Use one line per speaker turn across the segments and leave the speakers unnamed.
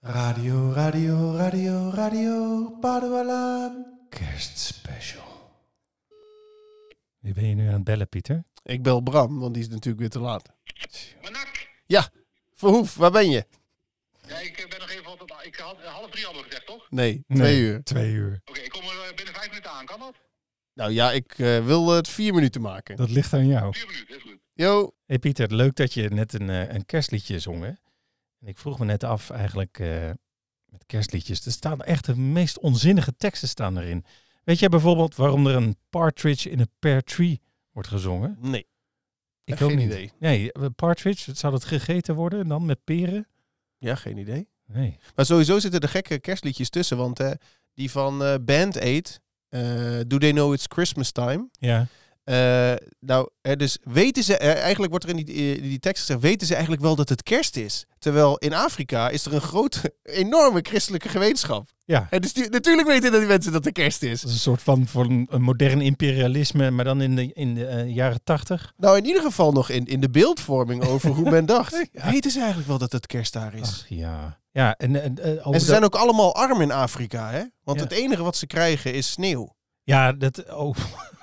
Radio, radio, radio, radio, Padualaan. Kerstspecial.
Wie ben je nu aan het bellen, Pieter?
Ik bel Bram, want die is natuurlijk weer te laat.
Manak.
Ja, Verhoef, waar ben je?
Ja, ik eh, ben nog even op het... Ik had eh, half drie hadden we gezegd, toch? Oké,
Nee, twee uur.
Twee uur.
ik kom er eh, binnen vijf minuten aan. Kan dat?
Nou ja, ik eh, wil het vier minuten maken.
Dat ligt aan jou.
Vier minuten, is goed.
Yo,
hey Pieter, leuk dat je net een, eh, een kerstliedje zong. Hè? En ik vroeg me net af eigenlijk eh, met kerstliedjes. Er staan echt de meest onzinnige teksten staan erin. Weet jij bijvoorbeeld waarom er een partridge in een pear tree wordt gezongen?
nee.
Ik
Echt geen idee.
Nee, eh, partridge, zou dat gegeten worden en dan met peren?
Ja, geen idee.
Nee.
Maar sowieso zitten er gekke kerstliedjes tussen. Want eh, die van eh, Band Aid, eh, Do They Know It's Christmas Time?
Ja.
Eh, nou, hè, dus weten ze, eh, eigenlijk wordt er in die, eh, die tekst gezegd, weten ze eigenlijk wel dat het kerst is? Terwijl in Afrika is er een grote, enorme christelijke gemeenschap.
Ja.
En dus die- natuurlijk weten dat die mensen dat het kerst is.
Dat is een soort van voor een, een modern imperialisme, maar dan in de, in de eh, jaren tachtig.
Nou, in ieder geval nog in, in de beeldvorming over hoe men dacht.
Ja.
Weten ze eigenlijk wel dat het kerst daar is?
Ach ja. Ja, en, en, eh, over
en ze
dat-
zijn ook allemaal arm in Afrika, hè? Want
Ja.
het enige wat ze krijgen is sneeuw.
Ja, dat, oh,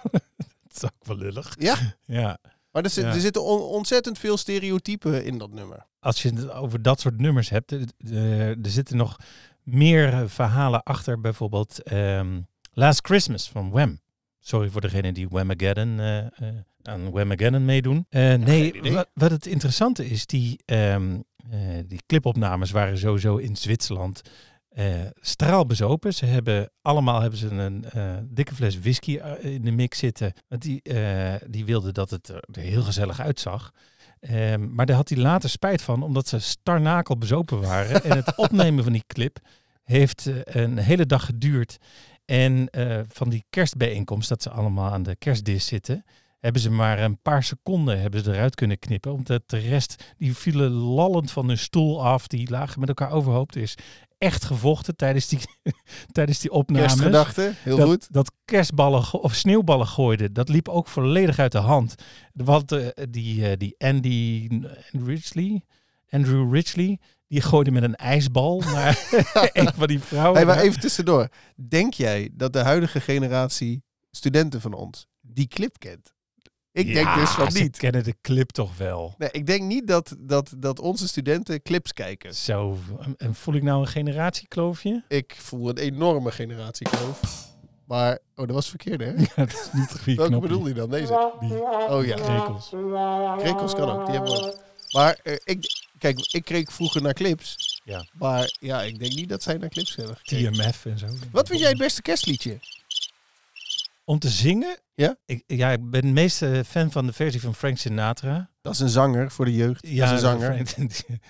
dat is ook wel lullig.
Ja.
ja.
Maar er, zit-
Ja.
er zitten on- ontzettend veel stereotypen in dat nummer.
Als je het over dat soort nummers hebt, eh, eh, er zitten nog meer eh, verhalen achter. Bijvoorbeeld ehm, Last Christmas van Wham. Sorry voor degene die Whamageddon, eh eh aan Whamageddon meedoen. Eh,
geen idee.
nee, wat, wat het interessante is, die, ehm, eh, die clipopnames waren sowieso in Zwitserland eh, straalbezopen. Ze hebben allemaal hebben ze een eh, dikke fles whisky eh, in de mix zitten. Want die, eh, die wilden dat het er er heel gezellig uitzag. Ehm, maar daar had hij later spijt van, omdat ze starnakel bezopen waren. en het opnemen van die clip heeft eh, een hele dag geduurd. En eh, van die kerstbijeenkomst, dat ze allemaal aan de kerstdis zitten, hebben ze maar een paar seconden hebben ze eruit kunnen knippen. Omdat de rest, die vielen lallend van hun stoel af, die lagen met elkaar overhoop. Er is echt gevochten tijdens die, tijdens die opnames
Kerstgedachten, heel
dat,
goed.
dat kerstballen go- of sneeuwballen gooiden, dat liep ook volledig uit de hand. Want eh, die, eh, die Andy Ridgely, Andrew Ridgely, die gooide met een ijsbal naar een van die vrouwen.
Hey, maar even tussendoor. Denk jij dat de huidige generatie studenten van ons die clip kent? Ik denk
Ja,
dus van
Ze
niet.
kennen de clip toch wel.
Nee, ik denk niet dat, dat, dat onze studenten clips kijken.
Zo, en- en voel ik nou een generatiekloofje?
Ik voel een enorme generatiekloof. Maar, oh, dat was verkeerd, hè?
Ja, dat is niet wie
Welke
knop
bedoelde je dan? Deze? Oh ja.
Krekels.
Krekels kan ook, die hebben we ook. Maar eh, ik, kijk, ik keek vroeger naar clips.
Ja.
Maar ja, ik denk niet dat zij naar clips hebben gekeken.
TMF en zo.
Wat vind jij het beste kerstliedje?
Om te zingen?
Ja?
Ik, ja, ik ben de meeste fan van de versie van Frank Sinatra.
Dat is een zanger voor de jeugd. dat is een zanger.
Frank-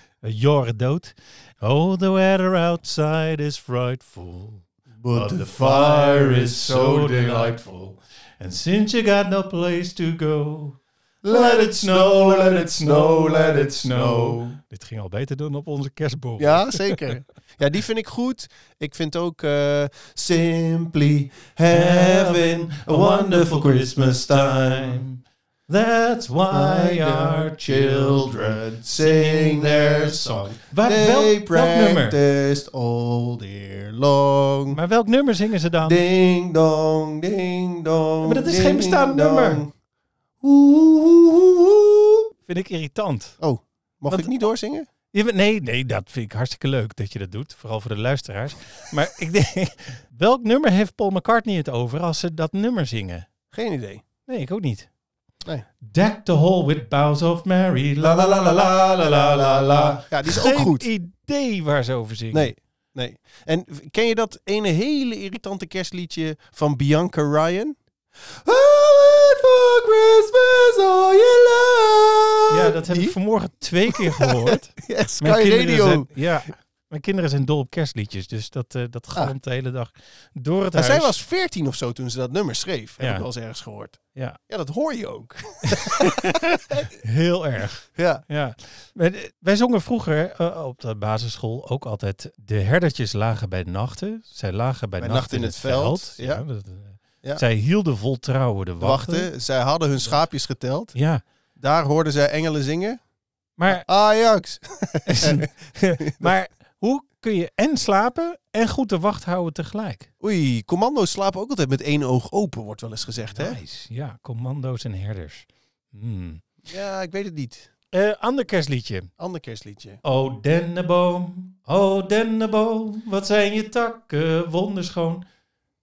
Jor dood. Oh, the weather outside is frightful. But the fire is so delightful. And since you got no place to go. Let it snow, let it snow, let it snow. Dit ging al beter dan op onze kerstboom.
Ja, zeker. Ja, die vind ik goed. Ik vind ook eh, Simply Heaven,
Having a wonderful Christmas time. That's why our children
sing their song.
Waar,
They
welk, welk nummer?
practiced all year long.
Maar welk nummer zingen ze dan?
Ding dong, ding dong.
Maar dat is
ding
geen bestaand nummer.
dong. Oeh, oeh, oeh, oeh.
Vind ik irritant.
Oh, mag
Want-
ik niet doorzingen?
Ja, maar Nee, nee, dat vind ik hartstikke leuk dat je dat doet. Vooral voor de luisteraars. Maar ik denk, welk nummer heeft Paul McCartney het over als ze dat nummer zingen?
Geen idee.
Nee, ik ook niet.
Nee.
Deck the hall with boughs of Mary. La la la la la la la la la.
Ja, die is ook
Geen
goed.
idee waar ze over zingen.
Nee, nee. En v- ken je dat ene hele irritante kerstliedje van Bianca Ryan? I want for Christmas all your love.
Ja, dat heb ik vanmorgen twee keer gehoord.
Yes, Sky Radio.
Zijn, ja, mijn kinderen zijn dol op kerstliedjes. Dus dat, eh dat galmt de hele dag door het
Ah. Maar
huis.
zij was 14 of zo toen ze dat nummer schreef. Heb
Ja.
ik wel eens ergens gehoord.
Ja,
Ja, dat hoor je ook.
heel erg.
Ja.
Ja, Maar, eh, wij zongen vroeger eh, op de basisschool ook altijd de herdertjes lagen bij nachten. Zij lagen bij,
Bij
nacht,
nacht in het veld, ja.
dat, eh,
Ja.
Zij hielden vol trouwen de wachten.
Wachten, zij hadden hun schaapjes geteld.
Ja,
Daar hoorden zij engelen zingen.
maar,
Ajax.
maar hoe kun je en slapen en goed de wacht houden tegelijk.
Oei, commando's slapen ook altijd met één oog open, wordt wel eens gezegd, hè?
Nice. Ja, commando's en herders. Hmm.
Ja, ik weet het niet.
Eh, ander kerstliedje.
Ander kerstliedje.
O dennenboom, o dennenboom, wat zijn je takken wonderschoon.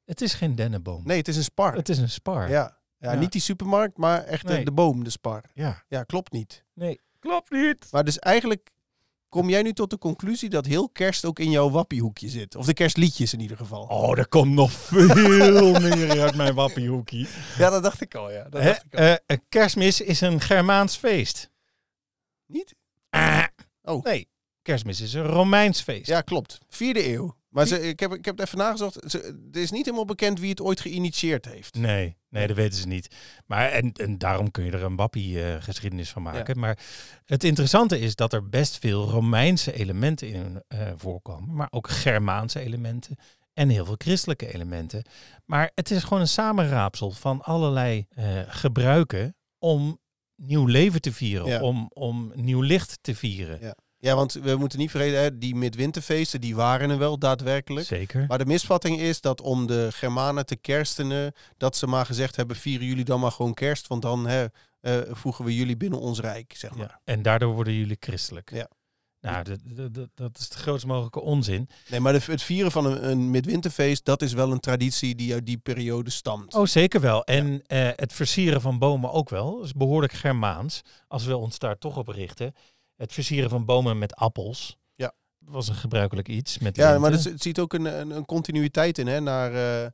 Het is geen dennenboom.
Nee, het is een spar.
Het is een spar.
Ja. Ja,
Ja.
niet die supermarkt, maar echt eh,
Nee.
de boom, de spar.
Ja.
Ja, klopt niet.
Nee, klopt niet.
Maar dus eigenlijk kom jij nu tot de conclusie dat heel kerst ook in jouw wappiehoekje zit. Of de kerstliedjes in ieder geval.
Oh, er komt nog veel meer uit mijn wappiehoekie.
Ja, dat dacht ik al, ja. Dat
Hè,
dacht ik al.
eh, een kerstmis is een Germaans feest.
Niet?
Ah.
Oh.
Nee, kerstmis is een Romeins feest.
Ja, klopt. Vierde eeuw. Maar ze, ik, heb, ik heb het even nagezocht. Ze, er is niet helemaal bekend wie het ooit geïnitieerd heeft.
Nee, nee, dat weten ze niet. Maar en, en daarom kun je er een wappie eh, geschiedenis van maken. Maar het interessante is dat er best veel Romeinse elementen in eh, voorkomen, maar ook Germaanse elementen en heel veel christelijke elementen. Maar het is gewoon een samenraapsel van allerlei eh, gebruiken om nieuw leven te vieren,
Ja.
om, om nieuw licht te vieren.
Ja, Ja, want we moeten niet vergeten, hè, die midwinterfeesten, die waren er wel daadwerkelijk.
Zeker.
Maar de misvatting is dat om de Germanen te kerstenen, dat ze maar gezegd hebben, vieren jullie dan maar gewoon kerst, want dan hè, eh, voegen we jullie binnen ons rijk, zeg maar.
Ja. En daardoor worden jullie christelijk.
Ja.
Nou, dat, dat- dat, dat is de grootst mogelijke onzin.
Nee, maar de- het vieren van een, een midwinterfeest, dat is wel een traditie die uit die periode stamt.
Oh, zeker wel. En eh, het versieren van bomen ook wel. Dat is behoorlijk Germaans, als we ons daar toch op richten. Het versieren van bomen met appels.
Ja.
Was een gebruikelijk iets. Met
ja,
linten.
maar dus het, het ziet ook een, een, een continuïteit in, hè, naar eh,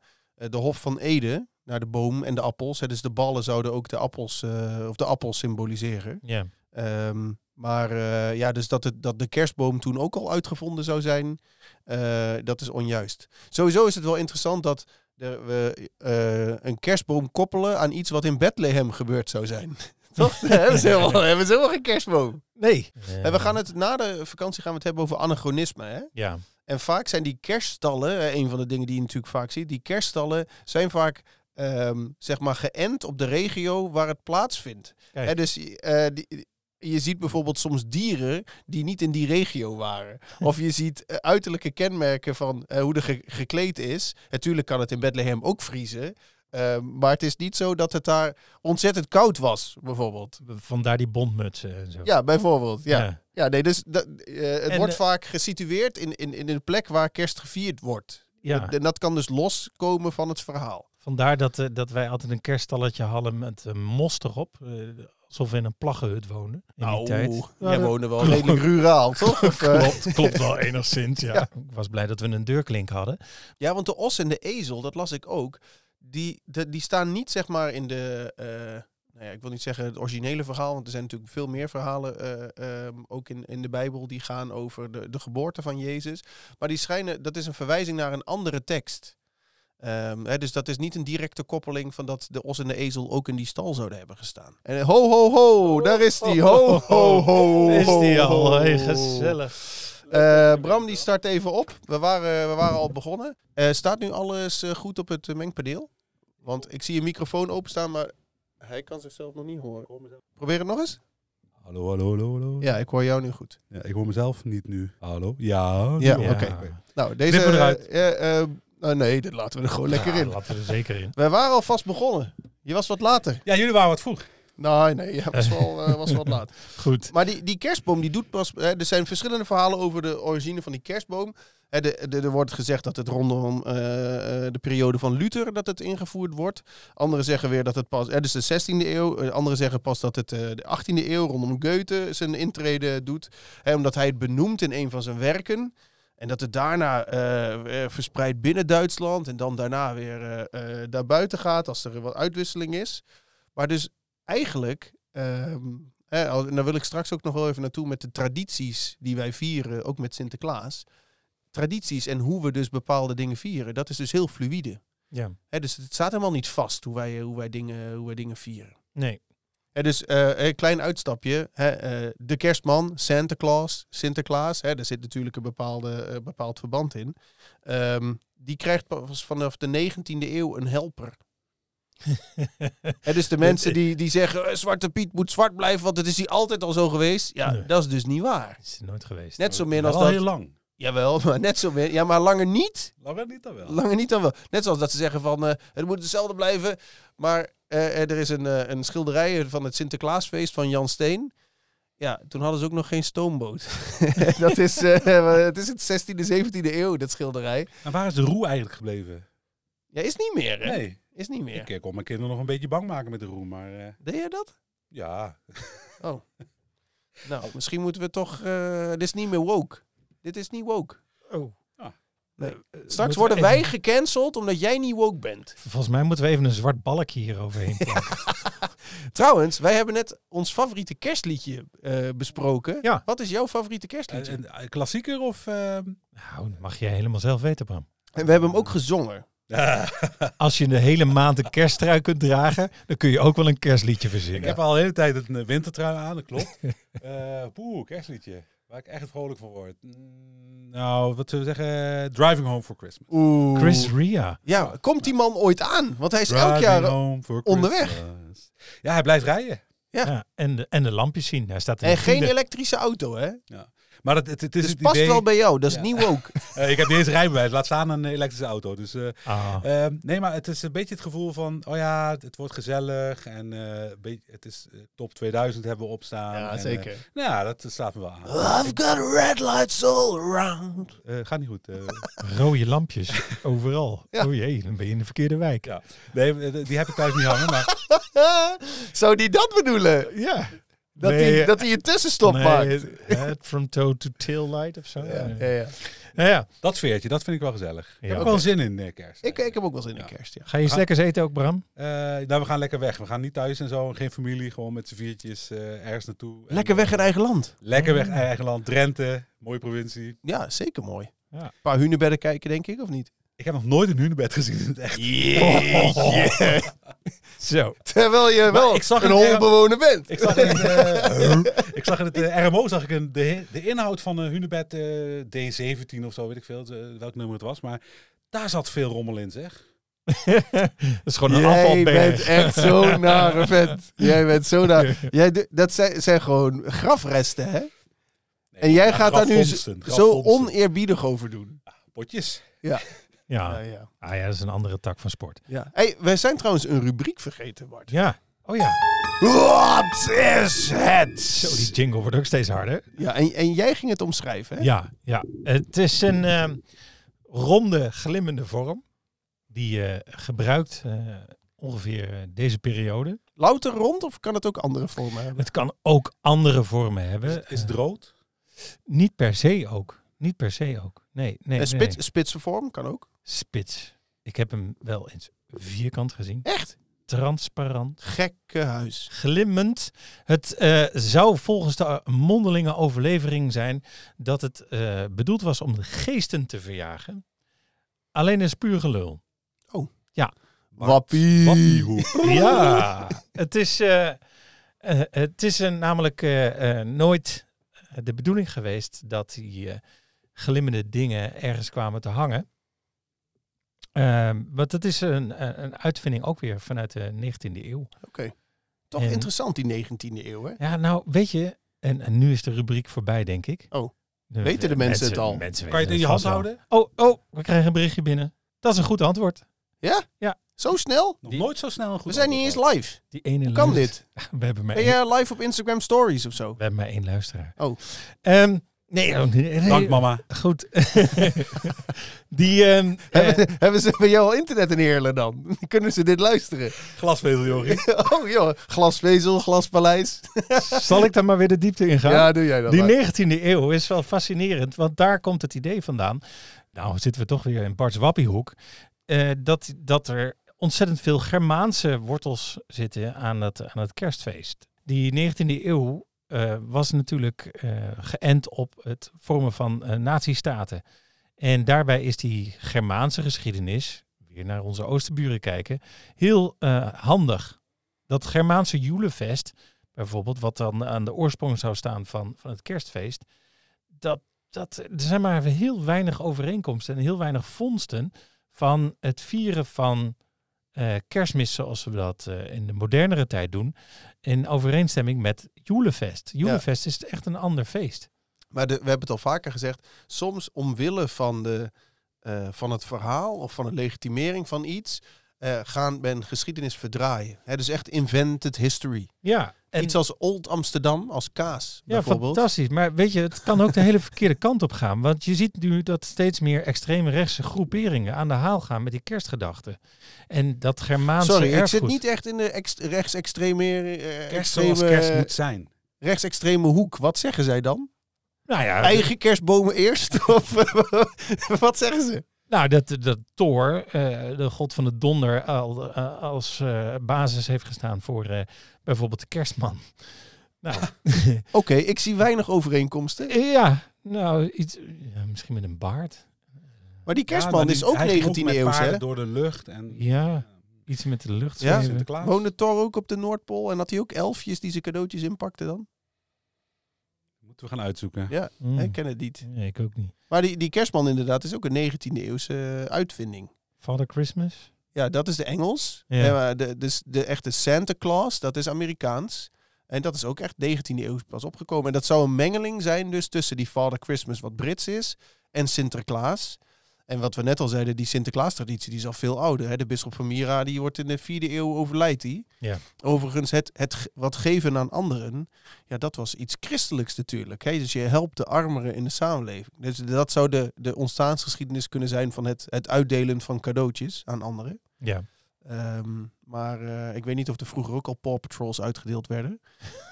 de Hof van Ede, naar de boom en de appels. Hè, dus de ballen zouden ook de appels, eh, of de appels symboliseren.
Ja.
Ehm, maar eh, ja, dus dat, het, dat de kerstboom toen ook al uitgevonden zou zijn, eh, dat is onjuist. Sowieso is het wel interessant dat er, we eh, een kerstboom koppelen aan iets wat in Bethlehem gebeurd zou zijn. Toch? Dan hebben ze helemaal, dan hebben ze helemaal geen kerstboom.
Nee.
En we gaan het, na de vakantie gaan we het hebben over anachronisme. Hè?
Eh, Ja. En
En vaak zijn die kerststallen, eh, een van de dingen die je natuurlijk vaak ziet, die kerststallen zijn vaak ehm, zeg maar geënt op de regio waar het plaatsvindt.
Kijk.
Hè, dus eh, die, je ziet bijvoorbeeld soms dieren die niet in die regio waren. Of je ziet eh, uiterlijke kenmerken van eh, hoe de ge- gekleed is. Natuurlijk kan het in Bethlehem ook vriezen. ehm, maar het is niet zo dat het daar ontzettend koud was, bijvoorbeeld.
Vandaar die bondmutsen en zo.
Ja, bijvoorbeeld. Ja.
Ja.
Ja, nee, dus dat, eh, het
En,
wordt
eh,
vaak gesitueerd in, in, in een plek waar kerst gevierd wordt.
Ja.
En dat kan dus loskomen van het verhaal.
Vandaar dat, eh, dat wij altijd een kerststalletje hadden met een mos erop. eh, alsof we in een plaggenhut wonen. In die
Nou,
tijd.
jij
Ja,
woonde wel
klopt.
redelijk ruraal, toch? Of, eh,
Klopt, klopt wel enigszins, ja. Ik was blij dat we een deurklink hadden.
ja, want de os en de ezel, dat las ik ook, die, de- die staan niet zeg maar in de... eh, nou ja, ik wil niet zeggen het originele verhaal, want er zijn natuurlijk veel meer verhalen, eh, ehm, ook in, in de Bijbel, die gaan over de, de geboorte van Jezus. Maar die schijnen, dat is een verwijzing naar een andere tekst. Ehm, hè, dus dat is niet een directe koppeling van dat de os en de ezel ook in die stal zouden hebben gestaan. En eh, ho, ho, ho, daar is die. Ho, ho, ho.
Is die
ho,
al?
ho.
Hey, gezellig.
Eh, Bram, die start even op. We waren, we waren al begonnen. Eh, staat nu alles eh, goed op het eh, mengpaneel? Want ik zie een microfoon openstaan, maar hij kan zichzelf nog niet horen. Probeer het nog eens.
Hallo, hallo, hallo, hallo.
Ja, ik hoor jou nu goed.
Ja, ik hoor mezelf niet nu. Hallo? Ja. nu
Ja,
wel.
oké. Nou, deze...
Knippen eruit.
eh, eh, nou, nee, dit laten we er gewoon lekker
Ja,
in.
Laten we er zeker in.
We waren al vast begonnen. Je was wat later.
Ja, jullie waren wat vroeg.
Nee, nee, je was wel eh, was wat laat.
Goed.
Maar die, die kerstboom, die doet pas... Hè, er zijn verschillende verhalen over de origine van die kerstboom. Hè, de, de, er wordt gezegd dat het rondom eh, eh, de periode van Luther dat het ingevoerd wordt. Anderen zeggen weer dat het pas... Hè, dus de 16e eeuw. Eh, Anderen zeggen pas dat het eh, de 18e eeuw rondom Goethe zijn intrede doet. Hè, omdat hij het benoemt in een van zijn werken. En dat het daarna eh, eh, verspreid binnen Duitsland. En dan daarna weer eh, eh, daarbuiten gaat als er wat uitwisseling is. Maar dus eigenlijk... ehm, Hè, al- en daar wil ik straks ook nog wel even naartoe met de tradities die wij vieren, ook met Sinterklaas. Tradities en hoe we dus bepaalde dingen vieren, dat is dus heel fluïde.
Ja.
Hè, dus het staat helemaal niet vast hoe wij, eh, hoe wij, dingen, hoe wij dingen vieren.
Nee.
Hè, dus eh, een klein uitstapje. Hè, eh, de kerstman, Santa Claus, Sinterklaas, hè, daar zit natuurlijk een bepaalde, eh, bepaald verband in. Ehm, die krijgt pas vanaf de 19e eeuw een helper. Hè, dus de mensen die, die zeggen, eh, Zwarte Piet moet zwart blijven, want het is hij altijd al zo geweest. Ja,
Nee.
dat is dus niet waar.
is het nooit geweest.
Net zo min
Wel
als dat...
heel lang.
Jawel, maar net zo min. Ja, maar langer niet.
Langer niet dan wel.
Langer niet dan wel. Net zoals dat ze zeggen van eh, het moet hetzelfde blijven. Maar eh, er is een, eh, een schilderij van het Sinterklaasfeest van Jan Steen. Ja, toen hadden ze ook nog geen stoomboot. dat is, eh, het is het 16e, 17e eeuw, dat schilderij.
Maar waar is de roe eigenlijk gebleven?
Ja, is niet meer, hè?
Nee,
Is niet meer.
ik eh, kon mijn kinderen nog een beetje bang maken met de roe, maar eh,
Deed je dat?
ja.
Nou, misschien moeten we toch... eh, dit is niet meer woke. Dit is niet woke.
Oh.
Ja.
Ah. eh, Straks worden wij gecanceld omdat jij niet woke bent.
Volgens mij moeten we even een zwart balkje hier overheen plakken.
Trouwens, wij hebben net ons favoriete kerstliedje eh, besproken.
Ja.
Wat is jouw favoriete kerstliedje?
Eh, En, en, klassieker of... ehm,
nou, dat mag jij helemaal zelf weten, Bram.
En we hebben hem ook gezongen.
Als je de hele maand een kersttrui kunt dragen, dan kun je ook wel een kerstliedje verzinnen.
Ik heb al de hele tijd een eh, wintertrui aan, dat klopt. Eh poeh, kerstliedje. Waar ik echt vrolijk van word. Mm, nou, wat zullen we zeggen? Driving Home for Christmas.
Oeh.
Chris Ria.
Ja, komt die man ooit aan? Want hij is elk
Driving
jaar...
home for
onderweg.
Christmas. Ja, hij blijft rijden.
Ja.
Ja. en, de, en de lampjes zien. Hij staat in
En
de
geen
file.
elektrische auto, hè?
Maar het, het, het is
Dus
het
past
idee...
wel bij jou. Dat is
Ja.
niet woke.
Eh, ik heb niet eens een rijbewijs. Laat staan een elektrische auto. Dus, eh,
Ah,
ehm, nee, maar het is een beetje het gevoel van... Oh ja, het, het wordt gezellig. En eh, een beetje- het is eh, top 2000 hebben we opstaan. en, eh, nou ja, dat eh, staat me wel aan.
I've got red lights all around.
Eh, gaat niet goed. eh.
rode lampjes overal.
Ja.
Oh jee, dan ben je in de verkeerde wijk.
Ja. nee, eh, die heb ik thuis niet hangen. Maar
Zou die dat bedoelen?
Ja.
Dat hij
Nee, eh,
dat hij een tussenstop
nee,
maakt?
het- het from toe to tail light of zo.
Ja,
Eh,
ja, ja.
Nou ja.
dat sfeertje, dat vind ik wel gezellig. Ik
Ja.
heb ook wel zin in eh, kerst.
Ik, ik heb ook wel zin in
Ja.
kerst, ja.
Ga je eens lekkers eten ook, Bram?
Eh, nou, we gaan lekker weg. We gaan niet thuis en zo. Geen familie. Gewoon met z'n viertjes eh, ergens naartoe. En,
Lekker weg in eigen land.
Lekker weg. e-, Eigen land. Drenthe. Mooie provincie.
Ja, zeker mooi.
Ja.
Een paar hunebedden kijken, denk ik, of niet?
Ik heb nog nooit een hunebed gezien in het echt.
Zo.
Terwijl je wel
ik zag
een
het
holbewoner bent.
Ik zag in het, eh, ik zag in het eh, RMO zag ik een, de, de inhoud van een hunebed eh, D17 of zo, weet ik veel eh, welk nummer het was. Maar daar zat veel rommel in, zeg.
dat is gewoon een
Jij
afvalberg.
bent echt zo'n nare vent. Jij bent zo naar. Jij, d- dat zijn, zijn gewoon grafresten, hè?
Nee,
En jij
ja,
gaat daar nu z-
grafvondsten,
zo
grafvondsten.
oneerbiedig over doen.
Potjes.
Ja.
Ja, ja.
Ah ja, dat is een andere tak van sport.
ja. Hey, wij zijn trouwens een rubriek vergeten, Bart.
Ja. Oh ja.
Wat is het?
Zo, die jingle wordt ook steeds harder.
Ja, en, en jij ging het omschrijven, hè?
Ja, ja. Het is een ehm, ronde, glimmende vorm. Die je gebruikt eh, ongeveer eh, deze periode.
Louter rond of kan het ook andere vormen hebben?
Het kan ook andere vormen hebben.
Is, is het
Eh,
rood?
niet per se ook. Niet per se ook. Nee, nee.
Een
nee.
Eh, spits, spitse vorm kan ook.
Spits. Ik heb hem wel eens vierkant gezien.
Echt?
Transparant.
Gekke huis.
glimmend. Het eh, zou volgens de mondelinge overlevering zijn dat het eh, bedoeld was om de geesten te verjagen. Alleen is puur gelul.
Wappie.
Wappiehoek.
Ja, het is, eh, eh, het is eh, namelijk eh, eh, nooit eh, de bedoeling geweest dat die eh, glimmende dingen ergens kwamen te hangen. Ehm want dat is een, een een uitvinding ook weer vanuit de 19e eeuw.
Toch
En-
interessant die 19e eeuw, hè?
Ja, nou, weet je, en, en nu is de rubriek voorbij, denk ik.
Oh. Weten de mensen het al?
mensen
Kan je het
weten
in je hand
vast wel.
houden?
Oh, oh, we krijgen een berichtje binnen. Dat is een goed antwoord.
Zo snel?
Nog
Die-
nooit zo snel een goed
We zijn niet eens
antwoord
live.
Die ene
Hoe kan
luister-
dit?
We hebben maar,
Ben
één,
jij live op Instagram Stories of zo?
we hebben maar één luisteraar.
Oh.
Ehm, nee, oh, nee, nee.
gehad. Dank mama.
Goed. die, ehm, eh,
Hebben, hebben ze bij jou al internet in Heerlen dan? Kunnen ze dit luisteren?
Glasvezel, Jorrie.
Oh joh, glasvezel, glaspaleis.
zal ik daar maar weer de diepte in gaan?
Ja, doe jij dat
Die
maar.
19e eeuw is wel fascinerend, want daar komt het idee vandaan. Nou, zitten we toch weer in Bart's Wappiehoek. eh, dat, dat er ontzettend veel Germaanse wortels zitten aan het, aan het kerstfeest. Die 19e eeuw eh, was natuurlijk eh, geënt op het vormen van eh, nazistaten. En daarbij is die Germaanse geschiedenis, weer naar onze oosterburen kijken, heel eh, handig. Dat Germaanse Julefest bijvoorbeeld, wat dan aan de oorsprong zou staan van, van het kerstfeest. Dat, dat, er zijn maar heel weinig overeenkomsten en heel weinig vondsten van het vieren van eh, kerstmis zoals we dat eh, in de modernere tijd doen. In overeenstemming met Joelefest. Joelefest is echt een ander feest.
Maar de, we hebben het al vaker gezegd. Soms omwille van, de, eh, van het verhaal of van de legitimering van iets. eh, gaan men geschiedenis verdraaien. Hè, dus echt invented history.
Ja, en
Iets als Old Amsterdam, als kaas
ja,
bijvoorbeeld.
fantastisch. Maar weet je, het kan ook de hele verkeerde kant op gaan. Want je ziet nu dat steeds meer extreemrechtse groeperingen aan de haal gaan met die kerstgedachten. En dat Germaanse
Sorry, ik
erfgoed.
zit niet echt in de ext- rechtsextreme, eh,
Kerst zoals kerst moet zijn.
rechtsextreme hoek. Wat zeggen zij dan?
Nou ja,
Eigen kerstbomen eerst? of eh, wat zeggen ze?
Nou, dat, dat Thor, eh, de god van de donder, al, eh, als eh, basis heeft gestaan voor eh, bijvoorbeeld de kerstman. Nou,
Oké, ik zie weinig overeenkomsten.
eh, ja, nou iets, ja, misschien met een baard.
Maar die kerstman
Ja, maar
is
die-
ook
hij ging
19e
met
eeuw,
paarden
hè?
door de lucht en
Ja, iets met de lucht.
Ja?
zweven.
Sinterklaas.
Woonde Thor ook op de Noordpool en had hij ook elfjes die zijn cadeautjes inpakten dan?
Moeten we gaan uitzoeken.
Mm.
Hmm.
Ik ken het niet.
Nee, ik ook niet.
Maar die, die kerstman inderdaad is ook een 19e eeuwse eh, uitvinding.
Father Christmas?
Ja, dat is de Engels.
Ja.
En, maar de, dus de echte Santa Claus, dat is Amerikaans. En dat is ook echt 19e eeuw pas opgekomen. En dat zou een mengeling zijn dus tussen die Father Christmas, wat Brits is, en Sinterklaas. En wat we net al zeiden, die Sinterklaas-traditie die is al veel ouder. Hè? De bisschop van Mira die wordt in de 4e eeuw overlijdt die.
Ja.
Overigens, het, het ge- wat geven aan anderen, ja, dat was iets christelijks natuurlijk. Hè? Dus je helpt de armeren in de samenleving. Dus dat zou de, de ontstaansgeschiedenis kunnen zijn van het, het uitdelen van cadeautjes aan anderen.
Ja.
Ehm, maar eh, ik weet niet of er vroeger ook al Paw Patrols uitgedeeld werden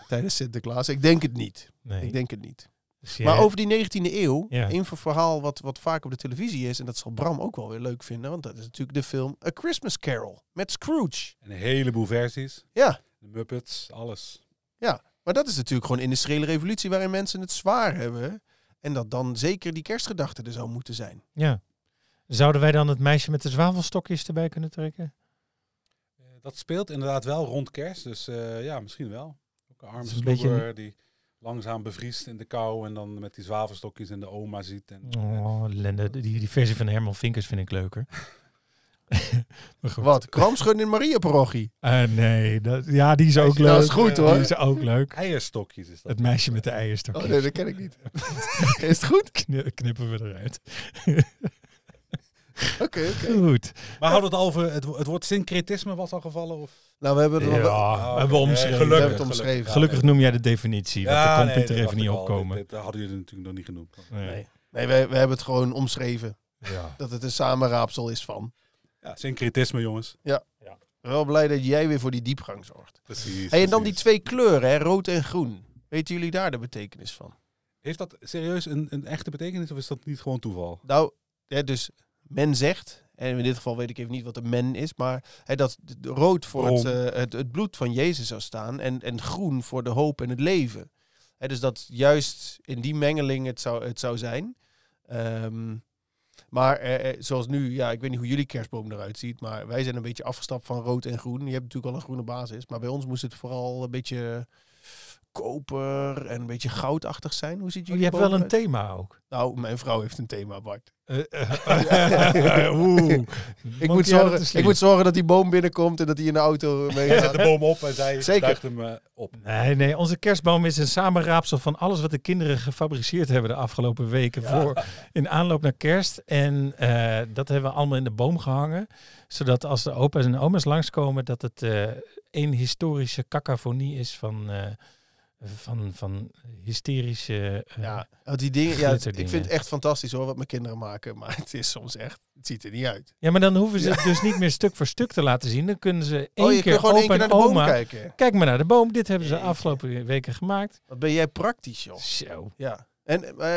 tijdens Sinterklaas. Ik denk het niet.
Nee.
Ik denk het niet.
Dus jij-
Maar over die 19e eeuw,
Ja.
een verhaal wat, wat vaak op de televisie is, en dat zal Bram ook wel weer leuk vinden, want dat is natuurlijk de film A Christmas Carol met Scrooge.
En een heleboel versies.
Ja.
De Muppets, alles.
Maar dat is natuurlijk gewoon industriële revolutie waarin mensen het zwaar hebben. En dat dan zeker die kerstgedachte er zou moeten zijn.
Ja. Zouden wij dan het meisje met de zwavelstokjes erbij kunnen trekken?
Eh, Dat speelt inderdaad wel rond kerst, dus eh, ja, misschien wel. Ook een arme
Het is een beetje
snoeber die langzaam bevriest in de kou en dan met die zwavelstokjes en de oma ziet. En,
Oh, Lende, die, die versie van Herman Vinkers vind ik leuker. maar goed.
Wat? Kramschudden in Maria parochie.
Eh, nee, dat, ja, die is ook leuk.
Dat is goed
Die
hoor.
is ook leuk.
Eierstokjes is dat.
Het meisje met de
Oh,
eierstokjes.
nee, dat ken ik niet. is het goed?
Kni- Knippen we eruit.
Oké, oké.
Goed.
Maar houden we het al over, het, wo- het woord syncretisme was al gevallen? Of?
Nou, we hebben er nog wel-
Ja,
Ah,
hebben we
oké.
omschreven.
Nee,
we hebben
gelukkig.
het omschreven.
Gelukkig noem jij de definitie, want daar komt
nee,
Pieter even
dat dacht
niet
ik al.
opkomen.
Dit- dit hadden jullie natuurlijk nog niet genoemd.
Nee.
Nee, we, we hebben het gewoon omschreven.
Ja.
dat het een samenraapsel is van.
Ja, syncretisme, jongens.
Wel blij dat jij weer voor die diepgang zorgt.
Precies.
Hey, en dan die
precies.
twee kleuren, hè, rood en groen. Weten jullie daar de betekenis van?
Heeft dat serieus een, een echte betekenis of is dat niet gewoon toeval?
Nou, hè, dus men zegt, en in dit geval weet ik even niet wat een men is, maar hè, dat d- rood voor het,
Bron.
eh, het, het bloed van Jezus zou staan en, en groen voor de hoop en het leven. Hè, dus dat juist in die mengeling het zou, het zou zijn. Ehm, maar eh, eh, zoals nu, ja, ik weet niet hoe jullie kerstboom eruit ziet, maar wij zijn een beetje afgestapt van rood en groen. Je hebt natuurlijk al een groene basis, maar bij ons moest het vooral een beetje koper en een beetje goudachtig zijn. Hoe ziet
Oh,
jullie
je hebt wel een
thema.
thema ook.
Nou, mijn vrouw heeft een thema, Bart.
Eh, eh, Oeh. Monkey
Ik moet,
out of the
zorgen, ik moet
sleeve.
zorgen dat die boom binnenkomt en dat hij in de auto eh,
Hij zet de
meegaat.
boom op en zij
Zeker.
duigt hem eh, op.
Nee, nee, onze kerstboom is een samenraapsel van alles wat de kinderen gefabriceerd hebben de afgelopen weken voor in aanloop naar kerst. En eh, dat hebben we allemaal in de boom gehangen, zodat als de opa's en oma's langskomen, dat het eh één historische cacophonie is van, eh, van, van hysterische... eh,
Ja, want Oh, die dingen, ja, ik
Glitterdingen.
vind het echt fantastisch hoor, wat mijn kinderen maken. Maar het is soms echt, het ziet er niet uit.
ja, maar dan hoeven ze het dus niet meer stuk voor stuk te laten zien. Dan kunnen ze één
oh, je
keer
kunt gewoon één
opa
keer
en
naar de boom
oma...
kijken.
Kijk maar naar de boom. Dit hebben ze
Jeetje.
afgelopen weken gemaakt.
Wat ben jij praktisch joh.
Zo.
Ja. En eh,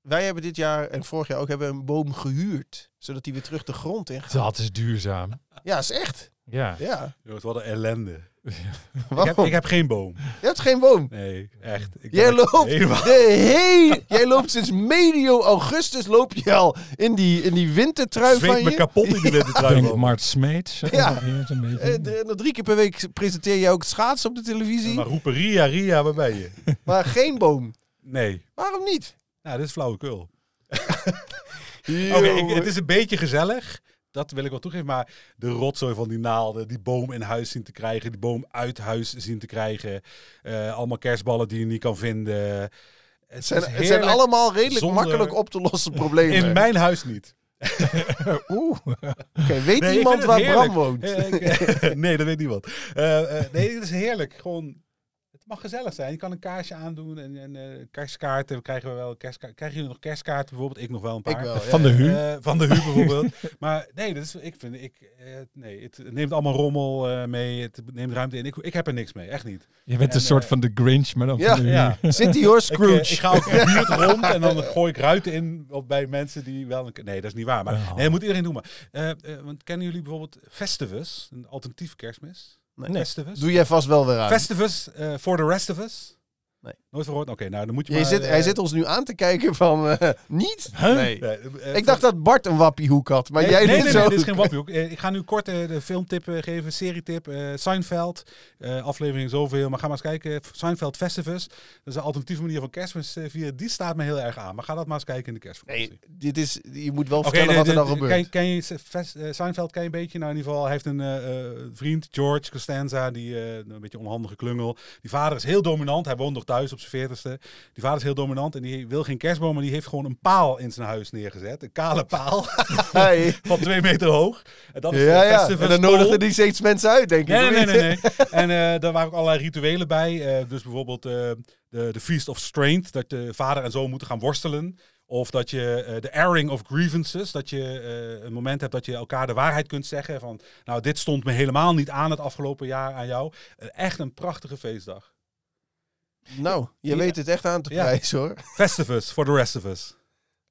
wij hebben dit jaar en vorig jaar ook hebben we een boom gehuurd. Zodat die weer terug de grond in gaat.
Dat is duurzaam.
Ja, is echt.
Ja.
Ja.
Jongens, wat een ellende. Ik heb,
Waarom?
ik heb geen boom.
Je hebt geen boom.
Nee, echt. Ik
Jij
ben
loopt
helemaal-
de hele... Jij loopt sinds medio augustus loop je al in die, in die wintertrui
zweet
van
me
je.
kapot in die
Ik
wintertrui.
denk
man.
Mart Smeets. eh,
Ja.
ongeveer zo'n beetje.
Eh, drie- nog drie keer per week presenteer jij ook schaatsen op de televisie,
Maar roepen Ria, Ria, waar ben je?
maar geen boom.
Nee.
Waarom niet?
Nou, dit is flauwekul.
Oké,
Oké, ik- het is een beetje gezellig. Dat wil ik wel toegeven. Maar de rotzooi van die naalden, die boom in huis zien te krijgen, die boom uit huis zien te krijgen. eh, allemaal kerstballen die je niet kan vinden. Eh, Het
zijn,
is
het zijn
heerlijk.
allemaal redelijk
zonder-
makkelijk op te lossen problemen.
In mijn huis niet.
Oeh.
Oké, weet
Nee, ik vind
iemand
het
waar
heerlijk.
Bram woont?
Eh, ik- nee, dat weet niemand. Eh, eh, nee, het is heerlijk. Gewoon, het mag gezellig zijn. Je kan een kaarsje aandoen en, en eh, kerstkaarten krijgen we wel. Kerstkaart, krijgen jullie nog kerstkaarten bijvoorbeeld? Ik nog wel een paar.
Ik wel.
Van de Hu.
Eh, van de Hu bijvoorbeeld. maar nee, dat is, ik vind, ik, eh, nee, het neemt allemaal rommel eh, mee. Het neemt ruimte in. Ik, ik heb er niks mee, echt niet.
Je bent
En,
een soort
eh,
van de Grinch, maar dan
Ja,
van de Hu.
ja.
Zit hij hoor,
Ik, eh,
Scrooge?
Ik, ga ook in de buurt rond en dan gooi ik ruiten in op, bij mensen die wel... Een, nee, dat is niet waar. Maar,
Ja.
Nee, dat moet iedereen doen. Maar, eh, eh, want kennen jullie bijvoorbeeld Festivus? Een alternatieve kerstmis?
Nee.
Festivus?
Doe jij vast wel weer aan.
Festivus eh, for the rest of us?
Nee.
Nooit verhoord? Oké, nou dan moet je
Jij
maar...
zit,
eh,
hij zit ons nu aan te kijken van, eh, niet?
Huh?
Nee.
nee, eh, eh,
Ik dacht dat Bart een wappiehoek had, maar
nee,
jij
nee,
doet
nee,
zo.
nee, dit is geen wapjoek. Eh, ik ga nu kort eh, de filmtip eh, geven, serietip. eh Seinfeld, eh, aflevering zoveel, maar ga maar eens kijken. Seinfeld Festivus, dat is een alternatieve manier van kerstmis eh, vieren. Die staat me heel erg aan, maar ga dat maar eens kijken in de kerstvakantie.
Nee, dit is, je moet wel
Oké,
vertellen
de-
wat er
de-
dan
de-
gebeurt.
Ken, ken je Se- Ves- eh, Seinfeld ken je een beetje? Nou, in ieder geval, hij heeft een eh, eh, vriend, George Costanza, die eh, een beetje onhandige klungel. Die vader is heel dominant. Hij woont nog thuis op zijn veertigste. Die vader is heel dominant en die wil geen kerstboom, maar die heeft gewoon een paal in zijn huis neergezet. Een kale paal
Hey.
van twee meter hoog. En dat is
Ja,
de
ja.
Festivus
En dan
Pole.
nodigde hij steeds mensen uit, denk ik.
Nee,
hoor.
nee, nee. nee, nee. en eh, daar waren ook allerlei rituelen bij. Eh, dus bijvoorbeeld eh, de, de Feast of Strength, dat de vader en zoon moeten gaan worstelen. Of dat je eh, de airing of grievances, dat je eh, een moment hebt dat je elkaar de waarheid kunt zeggen. Van, nou, dit stond me helemaal niet aan het afgelopen jaar aan jou. Eh, echt een prachtige feestdag.
Nou, je
Ja.
weet het echt aan te
Ja.
prijzen, hoor.
Festivus, for the rest of us.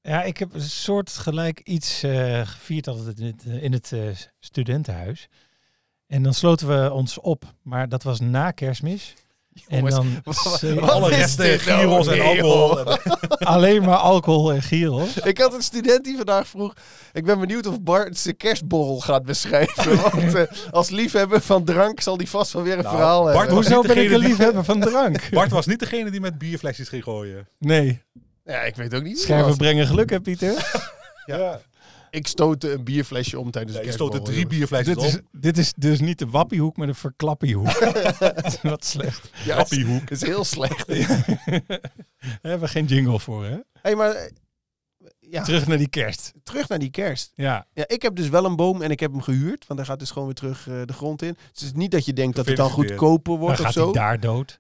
Ja, ik heb een soort gelijk iets eh, gevierd altijd in het, eh, in het eh, studentenhuis. En dan sloten we ons op, maar dat was na kerstmis. En
Jongens,
dan eh,
wat-
zee-
wat-
Alle
is
resten,
dit nou?
gyros en
Nee,
alcohol. Eh,
joh.
alleen maar alcohol en gierel.
Ik had een student die vandaag vroeg... Ik ben benieuwd of Bart zijn kerstborrel gaat beschrijven. Want eh, als liefhebber van drank zal hij vast wel weer een
Nou,
verhaal
Bart
hebben.
was
Hoezo
niet
ben ik
degene
een
die-
liefhebber van drank?
Bart was niet degene die met bierflesjes ging gooien.
Nee,
Ja, ik weet ook niet wie
scherven
het was.
brengen geluk hè Pieter.
Ja. Ik stootte een bierflesje om tijdens
Ja,
de
je stootte
kerstborrel.
drie bierflesjes
Dit is,
op.
dit is dus niet de wappiehoek, maar de verklappiehoek. Wat slecht.
jongens. Ja, het
Appiehoek.
is heel slecht.
Daar hebben we geen jingle voor, hè?
hey, maar... eh, Ja,
Terug naar die kerst.
terug naar die kerst.
Ja,
Ja, ik heb dus wel een boom en ik heb hem gehuurd. Want hij gaat dus gewoon weer terug eh, de grond in. Dus het is niet dat je denkt dat het dan
Gefeliciteerd.
goedkoper
dan
wordt of
gaat
zo.
hij daar dood.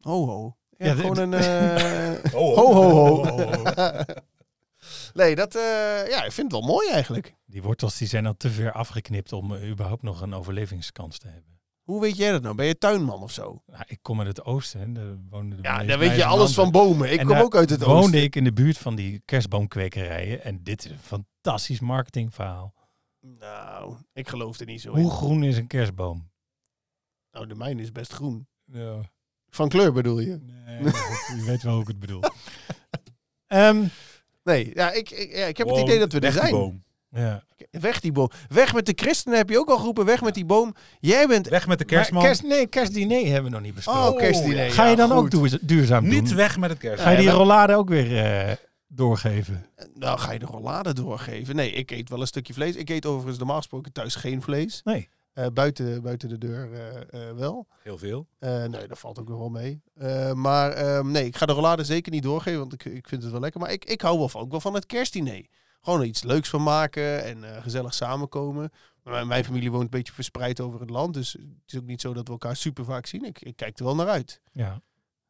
Ho, ho. Ja,
Ja, dit-
gewoon een... eh,
Oh,
ho, ho,
Oh, oh,
ho.
oh.
nee, dat... eh, ja, ik vind het wel mooi eigenlijk.
Die wortels die zijn al te ver afgeknipt om eh, überhaupt nog een overlevingskans te hebben.
Hoe weet jij dat nou? Ben je tuinman of zo?
Nou, ik kom uit het oosten. Hè. Daar woonde de
Ja,
meest
daar weet je
wijze
alles van
mannen.
bomen. Ik
En
kom
daar
ook uit het
woonde
oosten.
ik in de buurt van die kerstboomkwekerijen. En dit is een fantastisch marketingverhaal.
Nou, ik geloof er niet zo
Hoe
in.
groen is een kerstboom?
Nou, de mijne is best groen.
Ja,
Van kleur bedoel je?
nee, je weet wel hoe ik het bedoel. Ehm,
Nee, ja, ik, ik, ja, ik heb het
Wow,
idee dat we er
weg die
zijn.
boom.
ja.
Weg die boom. Weg met de christenen heb je ook al geroepen. Weg met die boom. Jij bent...
Weg met de kerstman.
Maar Kerst, nee, kerstdiner hebben we nog niet besproken.
Oh, kerstdiner.
Ga je
Ja,
dan ook
goed.
duurza- duurzaam doen?
Niet weg met het kerstman.
Ga je die
Ja, maar-
rollade ook weer eh, doorgeven?
Nou, ga je de rollade doorgeven? Nee, ik eet wel een stukje vlees. Ik eet overigens normaal gesproken thuis geen vlees.
Nee.
Eh, buiten, buiten de deur eh, eh, wel.
Heel veel.
Eh, nee, dat valt ook nog wel mee. Eh, maar ehm, nee, ik ga de rollade zeker niet doorgeven, want ik, ik vind het wel lekker. Maar ik, ik hou wel van, ook wel van het kerstdiner. Gewoon er iets leuks van maken en eh, gezellig samenkomen. Mijn, mijn familie woont een beetje verspreid over het land, dus het is ook niet zo dat we elkaar super vaak zien. Ik, ik kijk er wel naar uit.
Ja.